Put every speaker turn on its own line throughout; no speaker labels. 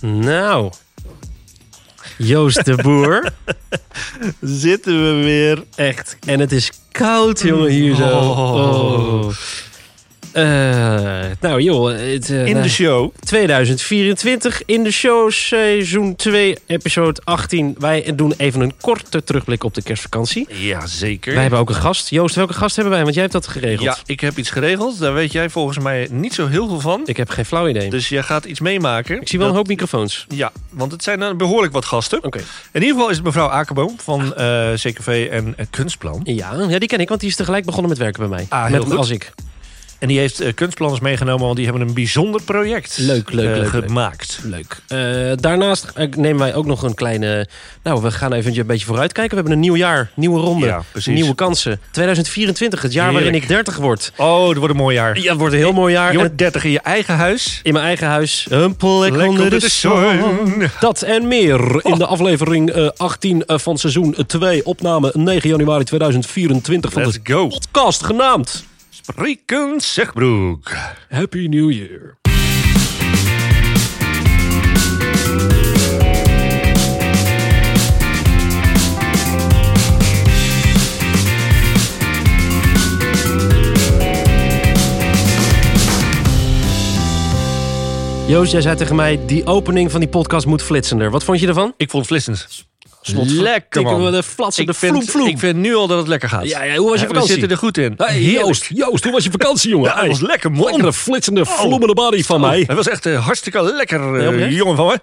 Nou, Joost de Boer.
Zitten we weer.
Echt. En het is koud, jongen, hier zo.
Oh.
Oh. Eh, nou, joh. Het, eh,
In
nou,
de show.
2024 in de show, seizoen 2, episode 18. Wij doen even een korte terugblik op de kerstvakantie.
Ja, zeker.
Wij hebben ook een gast. Joost, welke gast hebben wij? Want jij hebt dat geregeld.
ja, ik heb iets geregeld. Daar weet jij volgens mij niet zo heel veel van.
Ik heb geen flauw idee.
Dus jij gaat iets meemaken.
Ik zie wel een hoop microfoons.
Ja, want het zijn eh, behoorlijk wat gasten.
Oké.
In ieder geval is het mevrouw Akerboom van
Ah.
eh, CKV en eh, Kunstplan.
Ja, ja, die ken ik, want die is tegelijk begonnen met werken bij mij.
Ah, heel
met,
goed.
Als ik.
En die heeft eh, kunstplanners meegenomen, want die hebben een bijzonder project
Leuk, leuk,
eh,
leuk, leuk.
gemaakt.
Leuk. Eh, daarnaast eh, nemen wij ook nog een kleine... Nou, we gaan even een beetje vooruitkijken. We hebben een nieuw jaar, nieuwe ronde,
Ja, precies.
nieuwe kansen. 2024, het jaar waarin ik 30 word.
Oh, dat wordt een mooi jaar.
Ja, het wordt een heel mooi jaar.
Je
En
wordt 30 in je eigen huis.
In mijn eigen huis. Een plek
Lekker Oh.
onder de, zon.
zon.
Dat en meer in de aflevering eh, 18 eh, van seizoen 2. Opname 9 januari 2024 van
Let's
de
go.
podcast genaamd...
Rieken Zegbroek.
Happy New Year. Joost, jij zei tegen mij, die opening van die podcast moet flitsender. Wat vond je ervan?
Ik vond flissend.
Lekker,
Lekker, man.
De flatsen, de
ik, vind,
vloem, vloem.
ik vind nu al dat het lekker gaat.
Ja, ja, hoe was je
Eh,
vakantie?
We zitten er goed in.
Hey,
Heerlijk.
Joost, Joost, hoe was je vakantie, jongen?
Ja, dat was lekker, man. Oh.
Lekkere flitsende, vloemende body van mij.
Hij was echt eh, hartstikke lekker, eh,
Ja, oprecht?
jongen van me.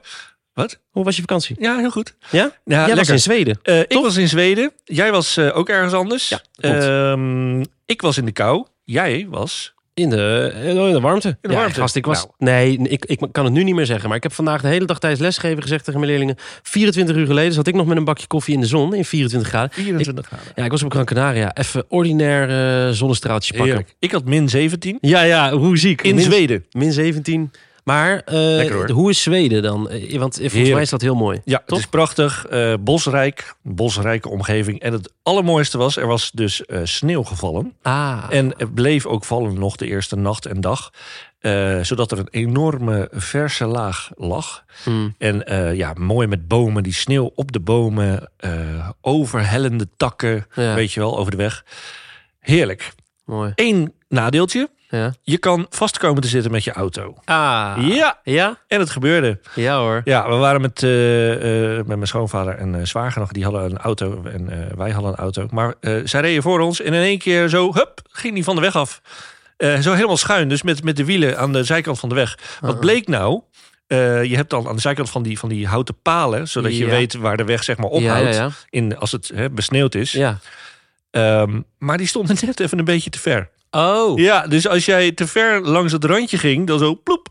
Wat?
Hoe was je vakantie?
Ja, heel goed.
Ja? Jij was
lekker.
in Zweden.
Eh, ik was in Zweden. Jij was eh, ook ergens anders.
Ja, klopt.
Ehm, ik was in de kou. Jij was...
In de, eh, in de warmte. In
de warmte.
Gast, ik was,
Nou.
Nee, ik, ik kan het nu niet meer zeggen. Maar ik heb vandaag de hele dag tijdens lesgeven gezegd tegen mijn leerlingen... 24 uur geleden zat ik nog met een bakje koffie in de zon in 24 graden.
24 graden.
Ja, ik was op Gran Canaria. Even ordinair eh, zonnestraaltje pakken.
Heerlijk. Ik had min 17.
Ja, ja, hoe ziek.
In
Min-
Zweden.
Min 17. Maar eh,
Lekker, hoor.
hoe is Zweden dan? Eh, Want eh, volgens mij
Heerlijk.
is dat heel mooi.
Ja,
Toch?
het is prachtig. eh, bosrijk. Bosrijke omgeving. En het allermooiste was, er was dus eh, sneeuw gevallen.
Ah,
En het bleef ook vallen nog de eerste nacht en dag. eh, zodat er een enorme verse laag lag.
Hmm.
En eh, ja, mooi met bomen, die sneeuw op de bomen. eh, overhellende takken,
Ja.
weet je wel, over de weg. Heerlijk.
mooi.
Eén nadeeltje.
Ja.
Je kan vast komen te zitten met je auto.
Ah.
Ja,
Ja?
en het gebeurde.
Ja hoor.
Ja, we waren met, eh, eh, met mijn schoonvader en eh zwager nog. Die hadden een auto en eh, wij hadden een auto. Maar eh, zij reden voor ons en in één keer zo, hup, ging die van de weg af. Eh, zo helemaal schuin, dus met, met de wielen aan de zijkant van de weg. Wat
Ah.
bleek nou? Eh, je hebt dan aan de zijkant van die, van die houten palen... zodat je
Ja.
weet waar de weg zeg maar
ja,
ophoudt
ja.
In, als het hè, besneeuwd is.
Ja.
Ehm, maar die stonden net even een beetje te ver.
Oh.
Ja, dus als jij te ver langs het randje ging, dan zo ploep,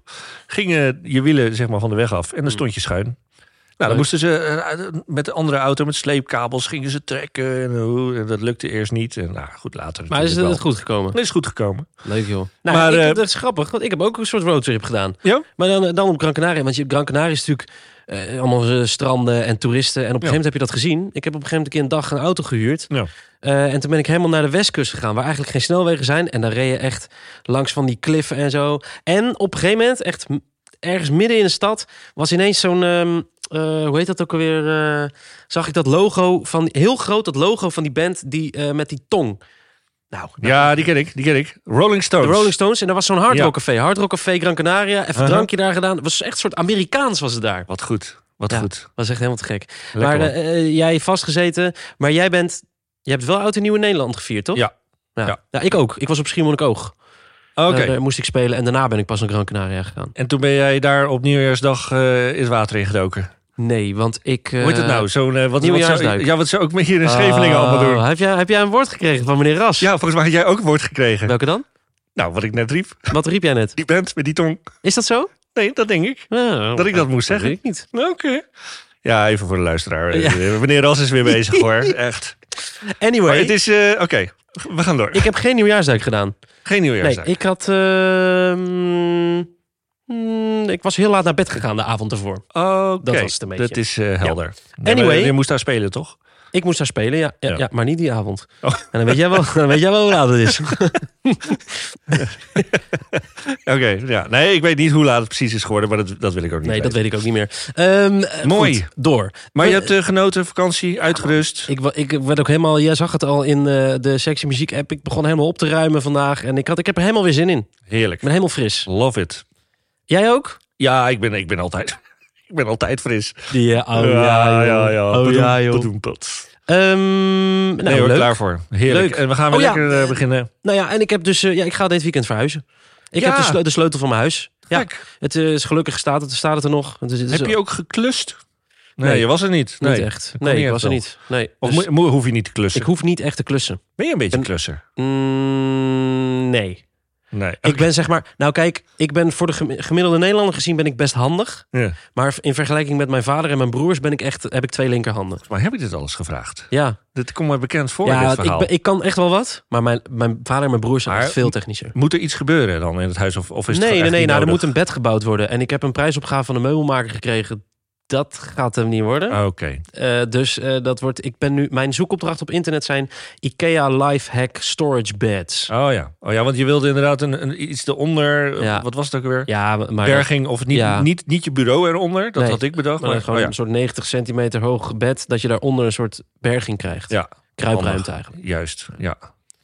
gingen je wielen zeg maar van de weg af en dan stond je schuin.
Hmm. Leuk.
Nou, dan moesten ze eh, met de andere auto met sleepkabels gingen ze trekken en, eh, hoe, en dat lukte eerst niet. En nou, goed later.
Maar is
natuurlijk
het goed gekomen?
wel. Is goed gekomen.
Leuk joh. Nou,
Maar,
ik,
eh,
dat is grappig, want ik heb ook een soort roadtrip gedaan.
Ja?
Maar dan, eh, dan op Gran Canaria, want je, Gran Canaria is natuurlijk eh, allemaal eh, stranden en toeristen. En op een gegeven moment heb je dat gezien. Ik heb op een gegeven moment een keer een dag een auto gehuurd.
Ja.
Eh, en toen ben ik helemaal naar de westkust gegaan, waar eigenlijk geen snelwegen zijn. En dan reed je echt langs van die kliffen en zo. En op een gegeven moment, echt m- ergens midden in de stad, was ineens zo'n... ehm, eh, hoe heet dat ook alweer? eh, zag ik dat logo van... Heel groot dat logo van die band die, eh, met die tong. Nou,
Ja, die ken ik, die ken ik. Rolling Stones.
de Rolling Stones. En daar was zo'n hard
Ja.
rock café. Hard rock café Gran Canaria. Even
Aha.
drankje daar gedaan. Het was echt een soort Amerikaans was het daar.
Wat goed, wat
Ja.
goed.
was echt helemaal te gek.
Lekker,
maar
man.
eh, eh, jij vastgezeten. Maar jij bent... Je hebt wel Oud en Nieuw in Nederland gevierd, toch?
Ja.
Ja.
Ja.
Ja, ik ook. Ik was op Schiermonnikoog.
Oké.
Daar, daar moest ik spelen. En daarna ben ik pas naar Gran Canaria gegaan.
En toen ben jij daar op Nieuwjaarsdag eh, in het water ingedoken.
Nee, want ik... eh, Ah.
Hoe heet het nou? Zo'n, eh, wat, wat, zou,
Nieuwjaarsduik.
ja, wat zou ook met hier in Schevelingen allemaal doen?
oh, Heb jij, heb jij een woord gekregen van meneer Ras?
Ja, volgens mij had jij ook een woord gekregen.
Welke dan?
Nou, wat ik net riep.
Wat riep jij net?
Die band met die tong.
Is dat zo?
Nee, dat denk ik.
Nou,
Dat ik dat moest zeggen.
weet ik niet.
Oké. Ja, even voor de luisteraar.
Ja.
Eh, Meneer Ras is weer bezig hoor. Echt.
Anyway,
Maar het is... eh, Oké, we gaan door.
ik heb geen nieuwjaarsduik gedaan.
Geen nieuwjaarsdag.
Nee, ik had. ehm, mm, ik was heel laat naar bed gegaan de avond ervoor.
Oké.
Dat was het een beetje.
Dat is eh, helder.
Anyway.
Je moest daar spelen, toch?
Ik moest daar spelen, ja, ja,
Ja.
ja, maar niet die avond.
Oh.
En dan weet jij wel, dan weet jij wel hoe laat het is.
Oké, ja. Nee, ik weet niet hoe laat het precies is geworden, maar dat, dat wil ik ook niet
Nee, dat
weten.
weet ik ook niet meer. Ehm, eh,
Mooi.
goed, door.
Maar je
Eh,
hebt eh, genoten, vakantie, uitgerust.
Ik, wa- ik werd ook helemaal, jij zag het al in eh, de sexy muziek app. Ik begon helemaal op te ruimen vandaag. En ik, had, ik heb er helemaal weer zin in.
Heerlijk.
Ik ben helemaal fris.
Love it.
Jij ook?
Ja, ik ben, ik ben altijd... Ik ben altijd fris.
Ja, oh ja,
eh, ja,
joh.
Bedoem-
Oh ja, joh.
bedoem dat.
Ehm, nou,
nee hoor,
leuk.
klaar voor. Heerlijk.
Leuk.
En we gaan weer
Oh ja,
lekker eh, beginnen.
Nou ja, en ik heb dus, eh, ja, ik ga dit weekend verhuizen. Ik
Ja.
heb de, sleu- de sleutel van mijn huis. Ja,
Kijk,
het eh, is gelukkig staat het, staat het er nog. Het is, het is
heb je ook geklust? Nee,
Nee.
je was er niet.
niet
Nee.
echt.
kon
Nee,
niet
ik was
echt
er
wel.
niet. Nee,
Of
dus
moe- moe- hoef je niet te klussen?
ik hoef niet echt te klussen.
Ben je een beetje
ben-
klusser?
Mm, nee.
Nee.
Ik ben zeg maar, nou kijk, ik ben voor de gemi- gemiddelde Nederlander gezien ben ik best handig.
Ja.
Maar in vergelijking met mijn vader en mijn broers ben ik echt, heb ik twee linkerhanden.
Maar heb ik dit alles gevraagd?
Ja,
Dit komt me bekend voor,
ja
dit
ik,
verhaal.
ben- ik kan echt wel wat. Maar mijn, mijn vader en mijn broers zijn
Maar-
echt veel technischer.
Moet er iets gebeuren dan in het huis? Of, of is het
Nee,
gewoon
nee,
echt
nee.
niet
Nou, er moet
nodig?
een bed gebouwd worden. En ik heb een prijsopgave van de meubelmaker gekregen. Dat gaat hem niet worden.
Ah, Oké.
Eh, dus eh, dat wordt. Ik ben nu. Mijn zoekopdracht op internet zijn IKEA Lifehack Storage Beds.
Oh ja. oh ja, want je wilde inderdaad een, een, iets eronder. eh,
Ja.
Wat was het ook weer?
Ja, maar.
Berging of niet,
Ja.
niet, niet je bureau eronder. Dat
Nee,
had ik bedacht.
Maar
Maar,
gewoon
oh ja.
een soort 90 centimeter hoog bed. Dat je daaronder een soort berging krijgt.
Ja,
Kruipruimte
handig.
eigenlijk.
Juist, ja.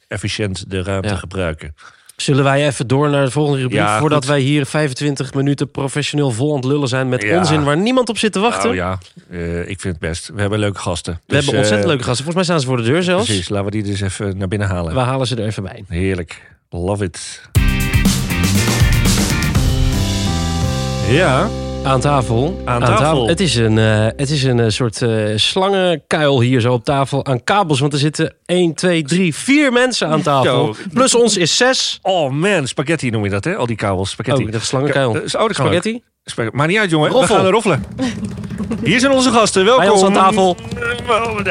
Efficiënt de ruimte
Ja.
gebruiken.
Zullen wij even door naar de volgende rubriek?
Ja,
voordat
goed.
wij hier 25 minuten professioneel vol aan het lullen zijn. Met
Ja.
onzin waar niemand op zit te wachten.
Nou ja, eh, ik vind het best. We hebben leuke gasten. Dus, eh,
We hebben ontzettend leuke gasten. Volgens mij staan ze voor de deur zelfs.
Precies, laten we die dus even naar binnen halen.
We halen ze er even bij.
Heerlijk. Love it. Ja,
Aan tafel.
Aan tafel.
Het is een, eh, het is een eh, soort eh, slangenkuil hier zo op tafel aan kabels. Want er zitten 1, 2, 3, 4 mensen aan tafel.
Zo.
Plus ons is 6.
oh man, spaghetti noem je dat, hè? Al die kabels, spaghetti.
Oh, de slangenkuil.
Dat is oude kabel.
Spaghetti.
Spag- Maar niet uit, jongen.
Roffel.
We gaan roffelen. Hier zijn onze gasten. Welkom.
Bij ons aan tafel.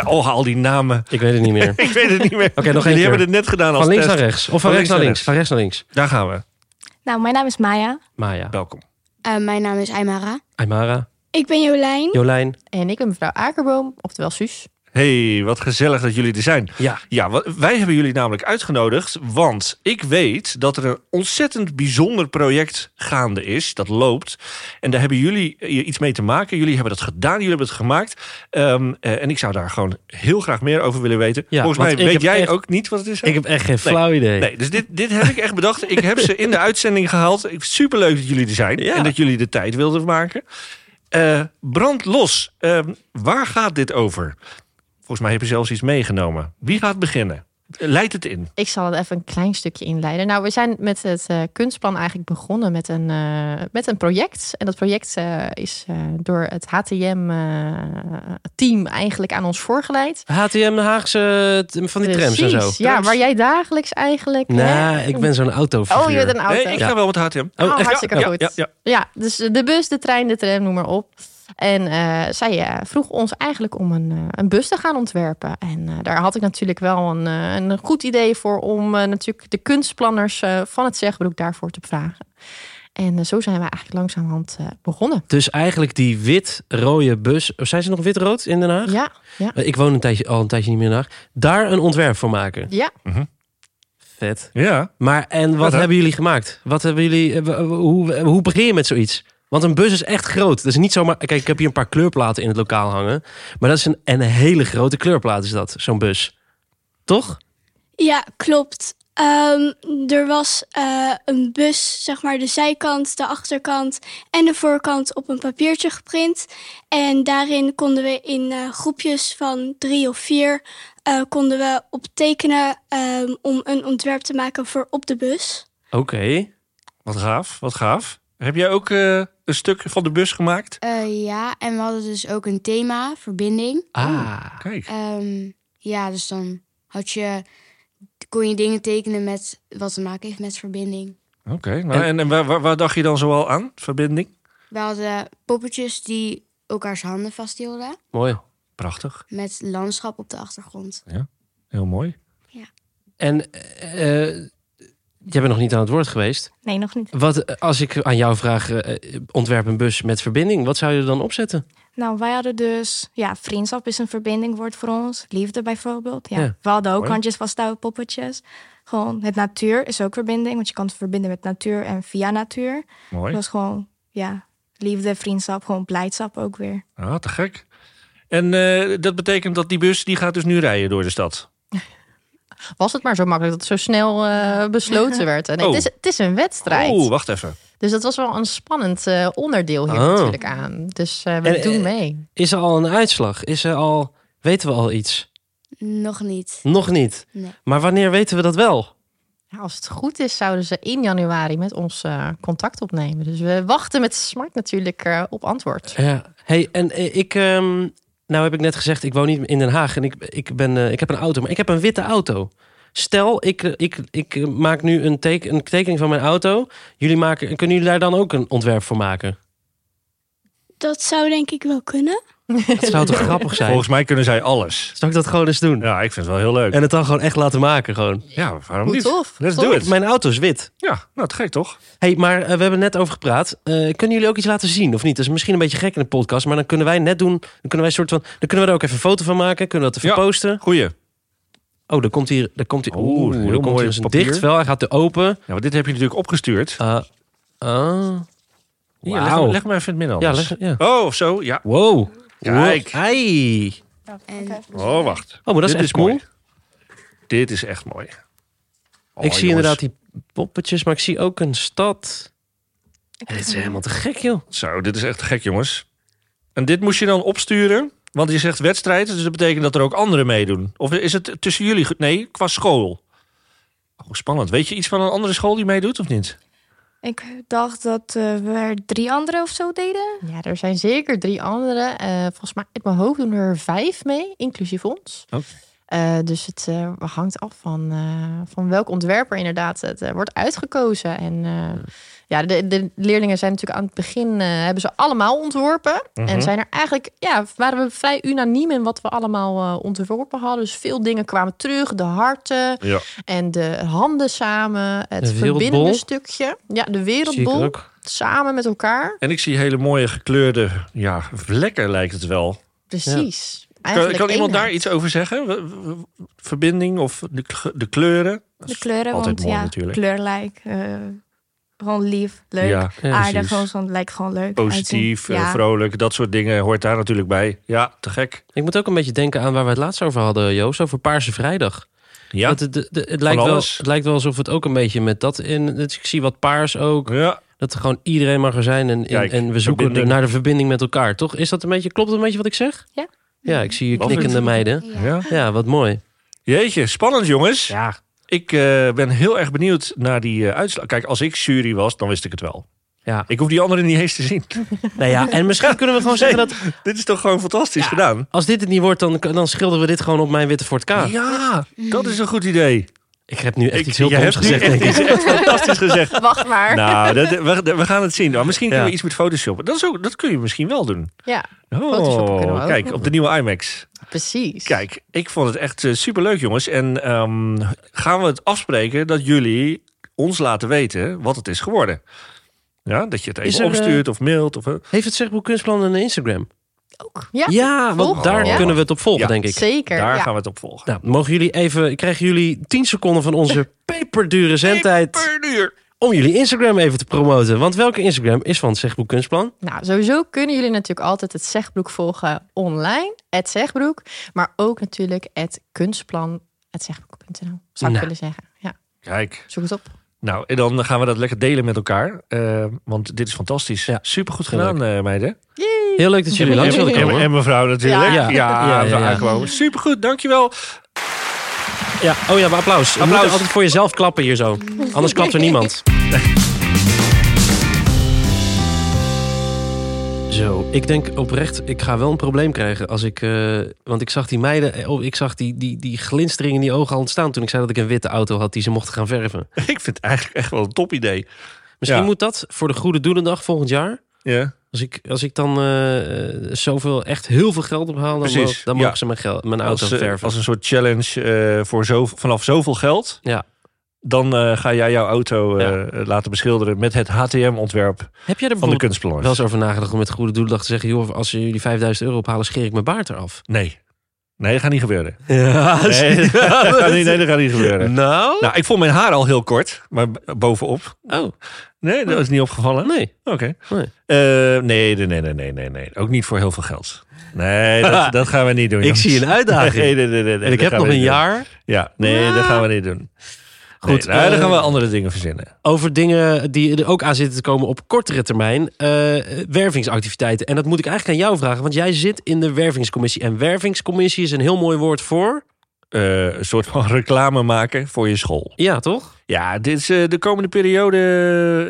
Oh, haal die namen.
Ik weet het niet meer.
Ik weet het niet meer.
Oké, nog één
Jullie
keer.
hebben het net gedaan als
Van links
test.
naar rechts. Of van, rechts naar links. Van rechts naar links.
Daar gaan we.
Nou, mijn naam is Maya.
Maya.
Welkom.
Eh, mijn naam is Aymara.
Aymara.
Ik ben Jolijn.
Jolijn.
En ik ben mevrouw Akerboom, oftewel Suus.
Hey, wat gezellig dat jullie er zijn.
Ja.
Ja, wa- wij hebben jullie namelijk uitgenodigd, want ik weet dat er een ontzettend bijzonder project gaande is. Dat loopt. En daar hebben jullie eh, iets mee te maken. Jullie hebben dat gedaan, jullie hebben het gemaakt. Ehm, eh, en ik zou daar gewoon heel graag meer over willen weten.
Ja,
Volgens
want
mij
ik
weet
heb
jij
echt-
ook niet wat het is. hè?
Ik heb echt geen flauw idee.
Nee, dus dit, dit heb ik echt bedacht. Ik heb ze in de uitzending gehaald. Ik- Superleuk dat jullie er zijn
Ja.
en dat jullie de tijd wilden maken. Eh, brand los. Ehm, waar gaat dit over? Volgens mij heb je zelfs iets meegenomen. Wie gaat beginnen? Eh, Leid het in.
Ik zal het even een klein stukje inleiden. Nou, we zijn met het eh, kunstplan eigenlijk begonnen met een, eh, met een project. En dat project eh, is eh, door het HTM-team eh, eigenlijk aan ons voorgeleid.
HTM Haagse eh, t- van die trams en zo.
Precies, Ja, waar jij dagelijks eigenlijk...
Nou,
hè,
ik ben zo'n autofiguur.
Oh, je bent een auto.
Nee, ik
Ja.
ga wel met HTM.
Oh,
Oh,
echt?
hartstikke
Ja,
goed.
ja,
Ja,
ja.
dus de bus, de trein, de tram, noem maar op. En eh, zij eh, vroeg ons eigenlijk om een, eh, een bus te gaan ontwerpen. En eh, daar had ik natuurlijk wel een, eh, een goed idee voor om eh, natuurlijk de kunstplanners eh, van het Zegbroek daarvoor te vragen. En eh, zo zijn we eigenlijk langzamerhand eh, begonnen.
Dus eigenlijk die wit-rode bus. Oh, zijn ze nog wit-rood in Den Haag?
Ja,
Eh, Ik woon een tijdje, al een tijdje niet meer in Den Haag. Daar een ontwerp voor maken.
ja.
Vet.
Ja.
Maar en wat
hè?
hebben jullie gemaakt? Wat hebben jullie, eh, w- hoe, hoe begin je met zoiets? Want een bus is echt groot. Dat is niet zomaar. Kijk, ik heb hier een paar kleurplaten in het lokaal hangen. Maar dat is een, een hele grote kleurplaat, is dat, zo'n bus. Toch?
Ja, klopt. Ehm, er was eh, een bus, zeg maar de zijkant, de achterkant en de voorkant op een papiertje geprint. En daarin konden we in eh, groepjes van drie of vier eh, konden we op tekenen ehm, om een ontwerp te maken voor op de bus.
Oké.
Wat gaaf, wat gaaf. Heb jij ook eh, een stuk van de bus gemaakt?
Eh, ja, en we hadden dus ook een thema, verbinding.
Ah.
Kijk.
Ehm, ja, dus dan had je, kon je dingen tekenen met wat te maken heeft met verbinding.
Oké. Nou, en en waar, waar, waar dacht je dan zoal aan? Verbinding?
We hadden poppetjes die elkaars handen vasthielden
Mooi.
Prachtig.
met landschap op de achtergrond.
Heel mooi.
En eh, jij bent nog niet aan het woord geweest.
Nee, nog niet.
Wat, eh, als ik aan jou vraag, eh, eh, ontwerp een bus met verbinding. Wat zou je er dan opzetten?
Nou, wij hadden dus... Ja, vriendschap is een verbindingwoord voor ons. Liefde bijvoorbeeld. Ja.
Ja.
We hadden ook
Mooi.
handjes vasthouden, poppetjes. Gewoon, het natuur is ook verbinding. Want je kan het verbinden met natuur en via natuur.
Mooi.
Dat is gewoon, ja, liefde, vriendschap, gewoon blijdschap ook weer.
Ah, te gek. En eh, dat betekent dat die bus die gaat dus nu rijden door de stad.
Was het maar zo makkelijk dat het zo snel eh, besloten werd. En
Oh.
het, is, het is een wedstrijd.
Oeh, wacht even.
Dus dat was wel een spannend eh, onderdeel hier
Oh.
natuurlijk aan. Dus eh, we
En, eh,
doen mee.
Is er al een uitslag? Is er al, weten we al iets?
Nog niet.
Nog niet.
Nee.
Maar wanneer weten we dat wel?
Ja, als het goed is, zouden ze in januari met ons eh, contact opnemen. Dus we wachten met smart natuurlijk eh, op antwoord.
Ja. Hey, en eh, ik, ehm, nou heb ik net gezegd, ik woon niet in Den Haag en ik, ik, ben, eh, ik heb een auto, maar ik heb een witte auto. Stel, ik, eh, ik, ik eh, maak nu een, teken, een tekening van mijn auto. Jullie maken, kunnen jullie daar dan ook een ontwerp voor maken?
Dat zou denk ik wel kunnen.
Dat zou toch grappig zijn?
Volgens mij kunnen zij alles.
Zou ik dat gewoon eens doen?
Ja, ik vind het wel heel leuk.
En het dan gewoon echt laten maken gewoon.
ja, waarom
Hoe
niet?
tof.
Let's
Tof.
do it.
Mijn auto is wit.
Ja, nou, te gek toch?
hey, maar eh, we hebben net over gepraat. Eh, kunnen jullie ook iets laten zien of niet? Dat is misschien een beetje gek in de podcast, maar dan kunnen wij net doen. Dan kunnen wij soort van, dan kunnen we er ook even een foto van maken. Kunnen we dat even
Ja.
posten?
Goeie. Ja,
Oh, daar komt hier, daar komt hier.
Oeh,
Oeh,
heel
daar komt
mooi
hier eens een
papier.
dicht vel. Hij gaat er open.
want dit heb je natuurlijk opgestuurd.
Ah, ah.
Hier, leg, hem-
Wauw.
leg hem even in het midden
Ja,
anders.
leg, ja.
Oh, of zo, ja.
Wow.
Kijk.
Wow. Ei.
En
Oh, wacht.
Oh, maar dat is
Dit
echt cool.
mooi. Dit is echt mooi. Oh,
ik zie
jongens,
inderdaad die poppetjes, maar ik zie ook een stad. Ja, dit is helemaal te gek, joh.
Zo, dit is echt te gek, jongens. En dit moest je dan opsturen, want je zegt wedstrijd, dus dat betekent dat er ook anderen meedoen. Of is het tussen jullie? ge- Nee, qua school. Oh, spannend. Weet je iets van een andere school die meedoet of niet?
Ik dacht dat eh, we er drie anderen of zo deden.
Ja, er zijn zeker drie andere. Eh, volgens mij uit mijn hoofd doen er vijf mee, inclusief ons.
Oké.
Eh, dus het eh, hangt af van, eh, van welk ontwerper inderdaad het eh, wordt uitgekozen. En eh, ja, de, de leerlingen zijn natuurlijk aan het begin, eh, hebben ze allemaal ontworpen.
Mhm.
En zijn er eigenlijk, ja, waren we vrij unaniem in wat we allemaal eh, ontworpen hadden. Dus veel dingen kwamen terug. De harten
Ja.
en de handen samen. Het
De wereldbol.
verbindende stukje. Ja, de
Zie ik
wereldbol.
ook.
Samen met elkaar.
En ik zie hele mooie gekleurde ja, vlekken, lijkt het wel.
Precies.
Kan,
Eigenlijk
kan iemand daar
eenheid.
iets over zeggen? W- w- w- Verbinding of de, k- de kleuren? Dat
De
is
kleuren,
altijd
want
mooi
ja,
natuurlijk.
kleurlijk. eh, gewoon lief, leuk,
Ja,
Ja,
aardig.
precies.
Gewoon zo'n lijkt gewoon leuk.
Positief,
uitzien.
eh, vrolijk, dat soort dingen hoort daar natuurlijk bij. Ja, te gek.
Ik moet ook een beetje denken aan waar we het laatst over hadden, Joost. Over Paarse Vrijdag.
Ja,
Want het, het- het, lijkt wel,
alles.
het lijkt wel alsof het ook een beetje met dat in. het- Ik zie wat paars ook.
ja.
Dat er gewoon iedereen mag er zijn. En, en-
Kijk,
en we zoeken
verbinding.
naar de verbinding met elkaar, toch? Is dat een beetje, klopt dat een beetje wat ik zeg?
Ja.
Ja, ik zie je
Love it.
knikkende meiden.
ja.
Ja, wat mooi.
Jeetje, spannend jongens.
Ja.
Ik eh, ben heel erg benieuwd naar die eh, uitslag. Kijk, als ik jury was, dan wist ik het wel.
Ja.
Ik hoef die anderen niet eens te zien.
Nou ja, en misschien kunnen we gewoon zeggen dat
Dit is toch gewoon fantastisch gedaan?
als dit het niet wordt, dan, dan schilderen we dit gewoon op mijn witte Ford K.
Ja,
Mm.
dat is een goed idee.
Ik heb nu echt
Ik-
iets heel
jij
doms
hebt nu
gezegd,
echt
denk ik.
iets echt fantastisch gezegd.
Wacht maar.
Nou, dat, we, we gaan het zien. Nou, misschien kunnen
Ja.
we iets met Photoshop. Dat, is ook, dat kun je misschien wel doen.
Ja,
Oh,
Photoshoppen kunnen we ook.
Kijk, op de nieuwe IMAX.
precies.
Kijk, ik vond het echt eh, superleuk, jongens. En ehm, gaan we het afspreken dat jullie ons laten weten wat het is geworden? Ja, dat je het
Is
even
er, eh,
opstuurt of mailt. Of, eh,
Heeft het Zegboek Kunstplan een Instagram?
Ook. Ja,
Ja, want
Volg.
daar
Ja.
kunnen we het op volgen,
Ja.
denk ik.
zeker.
daar
ja.
gaan we het op volgen.
Nou, mogen jullie even, krijgen jullie 10 seconden van onze peperdure zendtijd.
Per uur.
om jullie Instagram even te promoten. Want welke Instagram is van Zegboek Kunstplan?
Nou, sowieso kunnen jullie natuurlijk altijd het Zegbroek volgen online, het Zegbroek. Maar ook natuurlijk het kunstplan, het Zegbroek.nl, zou
Nou.
ik willen zeggen. Ja,
Kijk,
zoek het op.
nou, en dan gaan we dat lekker delen met elkaar. eh, want dit is fantastisch.
Ja.
Super goed
Heel
gedaan, eh, meiden.
Heel leuk dat jullie langs wilden
en,
komen.
en mevrouw natuurlijk. Ja,
Ja.
ja,
Ja. Ja,
mevrouw
ja, ja.
aankomen. Supergoed, dankjewel.
Ja, oh ja, maar applaus. Je
Applaus.
moet altijd voor jezelf klappen hier zo. Anders klapt er niemand. Zo, ik denk oprecht, ik ga wel een probleem krijgen als ik. eh, want ik zag die meiden, eh, oh, ik zag die, die, die glinstering in die ogen al ontstaan toen ik zei dat ik een witte auto had die ze mochten gaan verven.
Ik vind het eigenlijk echt wel een top idee.
Misschien
Ja.
moet dat voor de Goede Doelendag volgend jaar.
Ja.
Als ik, als ik dan eh, eh, zoveel, echt heel veel geld ophaal, dan,
Precies,
mogen- dan mogen
ja.
ze mijn, geld, mijn auto
Nou, Als, eh,
verven.
als een soort challenge eh, voor zo, vanaf zoveel geld.
Ja.
dan eh, ga jij jouw auto eh, laten beschilderen met het HTM-ontwerp
Heb jij er
van de
bijvoorbeeld wel
kunstbelangen.
eens over nagedacht om met goede doelendag te zeggen... joh, als jullie 5000 euro ophalen, scheer ik mijn baard eraf?
Nee. Nee, dat gaat niet gebeuren.
Ja,
Nee, dat gaat niet, nee, dat gaat niet gebeuren.
Nou?
Nou, ik vond mijn haar al heel kort, maar b- bovenop.
Oh,
Nee, dat is niet opgevallen.
nee.
Oké.
Nee.
Eh, nee, nee, nee, nee, nee, nee, nee. Ook niet voor heel veel geld. Nee, dat, dat gaan we niet doen.
Ik
jongens.
zie een uitdaging.
Nee, nee, nee, nee, nee,
En ik heb
dat gaan
nog
we
een
niet doen.
jaar
Ja, nee, dat gaan we niet doen. Ah. Goed,
Goed,
nee, nou, dan
eh,
gaan we andere dingen verzinnen.
over dingen die er ook aan zitten te komen op kortere termijn. eh, wervingsactiviteiten. En dat moet ik eigenlijk aan jou vragen, want jij zit in de wervingscommissie. En wervingscommissie is een heel mooi woord voor...
Eh, een soort van reclame maken voor je school.
Ja, toch?
Ja, dit is, eh, de komende periode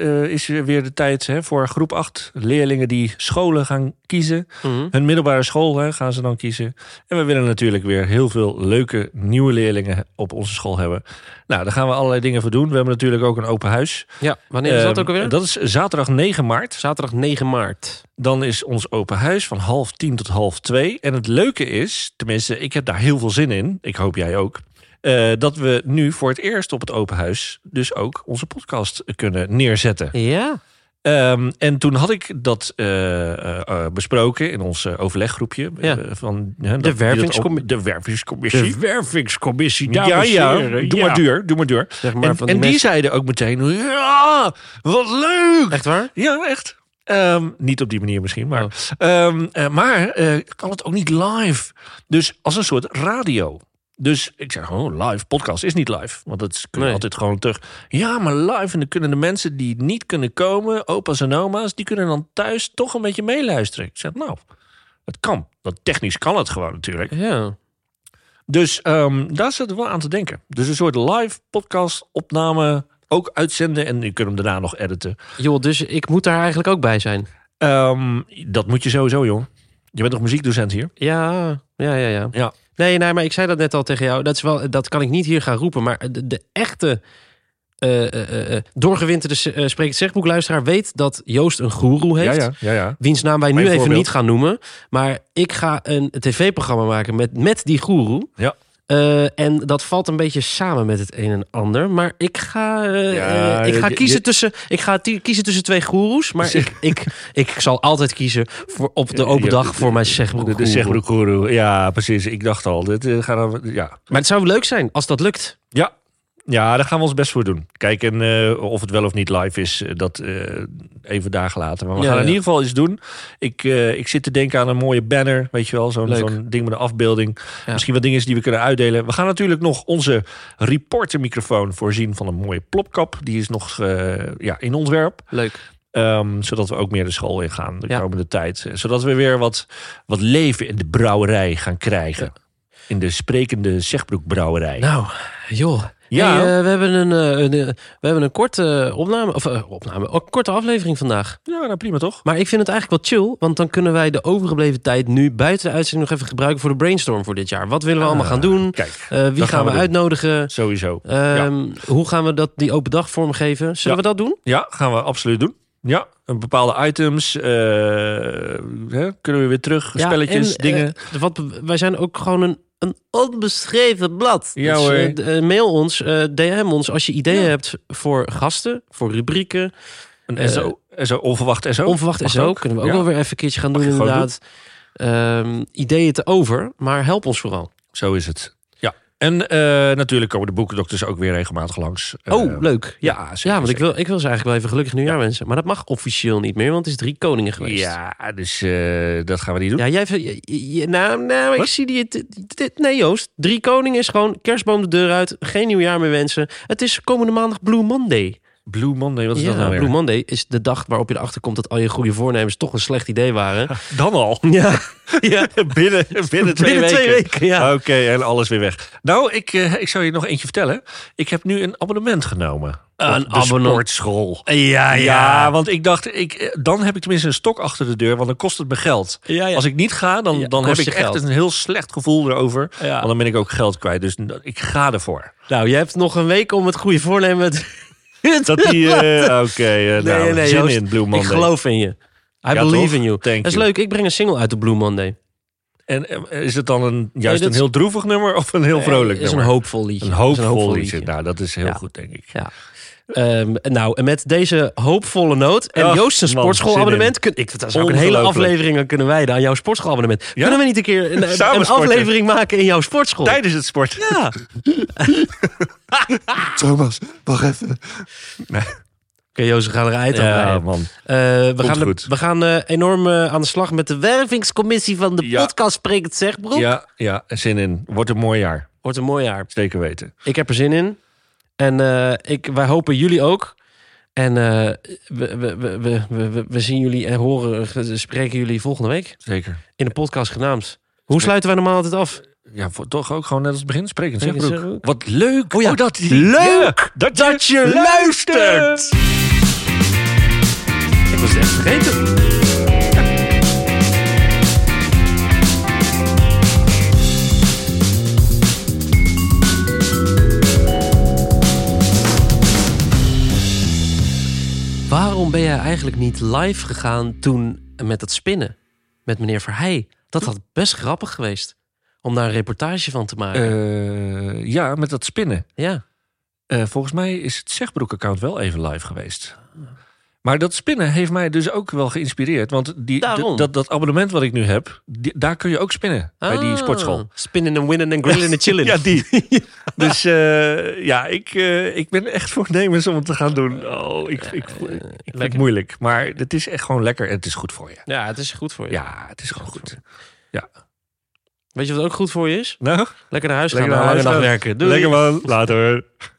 eh, is er weer de tijd hè, voor groep 8 leerlingen die scholen gaan kiezen.
Mhm.
Hun middelbare school hè, gaan ze dan kiezen. En we willen natuurlijk weer heel veel leuke nieuwe leerlingen op onze school hebben. Nou, daar gaan we allerlei dingen voor doen. We hebben natuurlijk ook een open huis.
Ja, wanneer is dat
Ehm,
ook alweer?
Dat is zaterdag 9 maart.
Zaterdag 9 maart.
Dan is ons open huis van half tien tot half twee. En het leuke is, tenminste, ik heb daar heel veel zin in. Ik hoop jij ook. eh, dat we nu voor het eerst op het open huis dus ook onze podcast kunnen neerzetten.
Ja.
Ehm, en toen had ik dat eh, eh, eh, besproken in ons eh, overleggroepje.
Ja.
eh, van, hè, dat-
De
die dat ook-
wervingscommi-
de wervingscommissie.
wervingscommissie,
ja, ja, doe maar duur, doe maar duur.
Zeg maar
En,
van
en
die
die
mensen-
zeiden ook meteen, ja, wat leuk!
Echt waar?
Ja, echt. Ehm, niet op die manier misschien, maar.
Oh.
Ehm, eh, maar eh, kan het ook niet live? Dus als een soort radio. Dus ik zeg, oh, live podcast is niet live. Want dat is- kun je
Nee.
altijd gewoon terug. Ja, maar live. En dan kunnen de mensen die niet kunnen komen, opa's en oma's, die kunnen dan thuis toch een beetje meeluisteren. Ik zeg, nou, het kan. Dat technisch kan het gewoon natuurlijk.
Ja.
Dus ehm, daar zit wel aan te denken. Dus een soort live podcast opname ook uitzenden. En je kunt hem daarna nog editen.
Joh, dus ik moet daar eigenlijk ook bij zijn.
Ehm, dat moet je sowieso, jong. Je bent toch muziekdocent hier?
Ja, ja, ja, ja.
Ja.
Nee, nee, maar ik zei dat net al tegen jou. Dat, is wel, dat kan ik niet hier gaan roepen. Maar de, de echte eh, eh, eh, doorgewinterde eh, spreekt het zegboekluisteraar weet dat Joost een goeroe heeft.
ja, ja.
Wiens naam wij nu
Mijn
even
voorbeeld.
niet gaan noemen. Maar ik ga een tv-programma maken met, met die goeroe.
Ja.
Eh, en dat valt een beetje samen met het een en ander. Maar ik ga, eh,
Ja,
eh, ik ga,
je-
kiezen,
je-
tussen, ik ga ti- kiezen tussen twee goeroes. Maar ik, ik, ik zal altijd kiezen voor, op de open
Ja,
dag voor mijn
De,
zegbroek.
de Zegbroekgoeroe. Ja, precies. Ik dacht al. Dit, eh, gaan we, ja.
Maar het zou leuk zijn als dat lukt.
Ja. ja, daar gaan we ons best voor doen. Kijk, en, eh, of het wel of niet live is, eh, dat eh, even dagen later. Maar we
Ja,
gaan in
ja.
ieder geval iets doen. Ik, eh, ik zit te denken aan een mooie banner. Weet je wel, zo'n
Leuk.
zo'n ding met een afbeelding.
Ja.
Misschien wat dingen die we kunnen uitdelen. We gaan natuurlijk nog onze reportermicrofoon voorzien van een mooie plopkap. Die is nog eh, ja, in ontwerp.
Leuk.
Ehm, zodat we ook meer de school in gaan de
Ja.
komende tijd. Eh, Zodat we weer wat, wat leven in de brouwerij gaan krijgen. In de sprekende Zegbroekbrouwerij.
Nou, joh.
Ja.
Hey, eh, we, hebben een, eh, een, eh, we hebben een korte opname, of eh, opname, ook een korte aflevering vandaag.
ja, nou prima toch?
Maar ik vind het eigenlijk wel chill, want dan kunnen wij de overgebleven tijd nu buiten de uitzending nog even gebruiken voor de brainstorm voor dit jaar. Wat willen we allemaal gaan doen?
Kijk,
Eh, wie
Ah. dat
gaan,
gaan we
we,
doen.
uitnodigen?
sowieso.
Ehm, Hoe gaan we dat, die open dag vormgeven? Zullen
Ja.
we dat doen?
Ja, gaan we absoluut doen. Ja, een bepaalde items. eh, hè, kunnen we weer terug. spelletjes,
en,
dingen.
eh, wat, wij zijn ook gewoon een, een onbeschreven blad.
Ja,
dus,
hoor.
eh, d- eh, mail ons, eh, DM ons als je ideeën hebt voor gasten, voor rubrieken.
een SO, SO, onverwacht SO.
eh, Onverwacht en
Oh, Mag
zo
ook.
kunnen we ook
Ja.
wel weer even een keertje gaan doen
Mag je gewoon
inderdaad. Ehm, ideeën te over, maar help ons vooral.
Zo is het. Ja. En eh, natuurlijk komen de boekendokters ook weer regelmatig langs. Eh,
oh, leuk. Ja,
ja,
ja
zeker,
want ik
zeker.
wil, ik wil ze eigenlijk wel even gelukkig nieuwjaar wensen. Maar dat mag officieel niet meer, want het is drie koningen geweest.
Ja, dus eh, dat gaan we niet doen.
Ja, jij... je- je- Nou, nou ik
Wat?
zie die... dit- dit- Nee, Joost. Drie Koningen is gewoon kerstboom de deur uit. Geen nieuwjaar meer wensen. Het is komende maandag Blue Monday.
Blue Monday, wat is
Ja,
dat nou weer?
Blue Monday is de dag waarop je erachter komt... dat al je goede voornemens toch een slecht idee waren.
Dan al.
Ja, ja.
binnen, binnen twee
binnen
weken.
twee weken. Ja.
Oké, en alles weer weg. Nou, ik, eh, ik zou je nog eentje vertellen. Ik heb nu een abonnement genomen.
Een
op de
abonnement.
sportschool.
Ja,
Ja, want ik dacht, ik, eh, dan heb ik tenminste een stok achter de deur, want dan kost het me geld.
Ja, ja.
Als ik niet ga, dan,
Ja,
dan heb
kost
ik
je
echt
geld.
een heel slecht gevoel erover.
Ja.
Want dan ben ik ook geld kwijt, dus n- ik ga ervoor.
Nou, je hebt nog een week om het goede voornemen... te-
Dat die, eh, oké, eh, nou, zin
Joost.
in Blue Monday.
Ik geloof in je. I
Ja,
believe
toch?
in you.
Thank
dat is
you.
leuk. Ik breng een single uit op Blue Monday.
En eh, is het dan een, juist
dat
een
is-
heel droevig nummer of een heel vrolijk
Eh, is een
nummer?
hoopvol liedje.
Een
Is
hoopvol,
een
liedje. Nou, dat is heel
Ja.
goed, denk ik.
Ja. Ehm, nou, en met deze hoopvolle noot en
Ach,
Joost een
man,
sportschoolabonnement.
zin
Kun, ik, dat zou ik een hele
Ongelooflijk.
aflevering aan kunnen wijden aan jouw sportschoolabonnement. Kunnen we niet een keer een, een
Samen sporten.
aflevering maken in jouw sportschool?
Tijdens het sporten.
Ja. Oké,
Thomas, wacht even.
Joost, we gaan eruit.
Ja,
aan.
man.
Eh, we,
Komt
gaan,
goed.
we gaan eh, enorm eh, aan de slag met de wervingscommissie van de
Ja.
podcast Spreekt Zeg, broer.
Ja, ja, zin in. Wordt een mooi jaar.
Wordt een mooi jaar.
Zeker weten.
Ik heb er zin in. En eh, ik, wij hopen jullie ook. En eh, we, we, we, we, we, we zien jullie en horen, eh, spreken jullie volgende week
Zeker.
in de podcast genaamd. Hoe sluiten wij normaal altijd af?
Ja, voor, toch ook gewoon net als het begin. Sprekend
Sprekend
zegbroek.
zegbroek.
Wat leuk.
Oh ja,
dat,
leuk
Ja, dat,
dat je luistert. Ik was het echt vergeten. Waarom ben jij eigenlijk niet live gegaan toen met dat spinnen? Met meneer Verheij. Dat had best grappig geweest. Om daar een reportage van te maken.
Eh, ja, met dat spinnen.
ja.
Eh, volgens mij is het Zegbroek-account wel even live geweest. Maar dat spinnen heeft mij dus ook wel geïnspireerd. Want die,
Daarom.
d- dat, dat abonnement wat ik nu heb, die- daar kun je ook spinnen. Bij die
Ah,
sportschool.
Spinnen en winnen en grillen en chillen.
Ja, die. dus eh, ja, ik, eh, ik ben echt voornemens om het te gaan doen. Oh, ik, ik, ik, vind het
lekker.
moeilijk. Maar het is echt gewoon lekker en het is goed voor je.
Ja, het is goed voor je.
Ja, het is gewoon goed.
Weet je wat ook goed voor je is?
Nou,
Lekker naar huis
Lekker
gaan,
naar
naar lange
huis
dag
gaan.
werken. Doei.
lekker man. Later.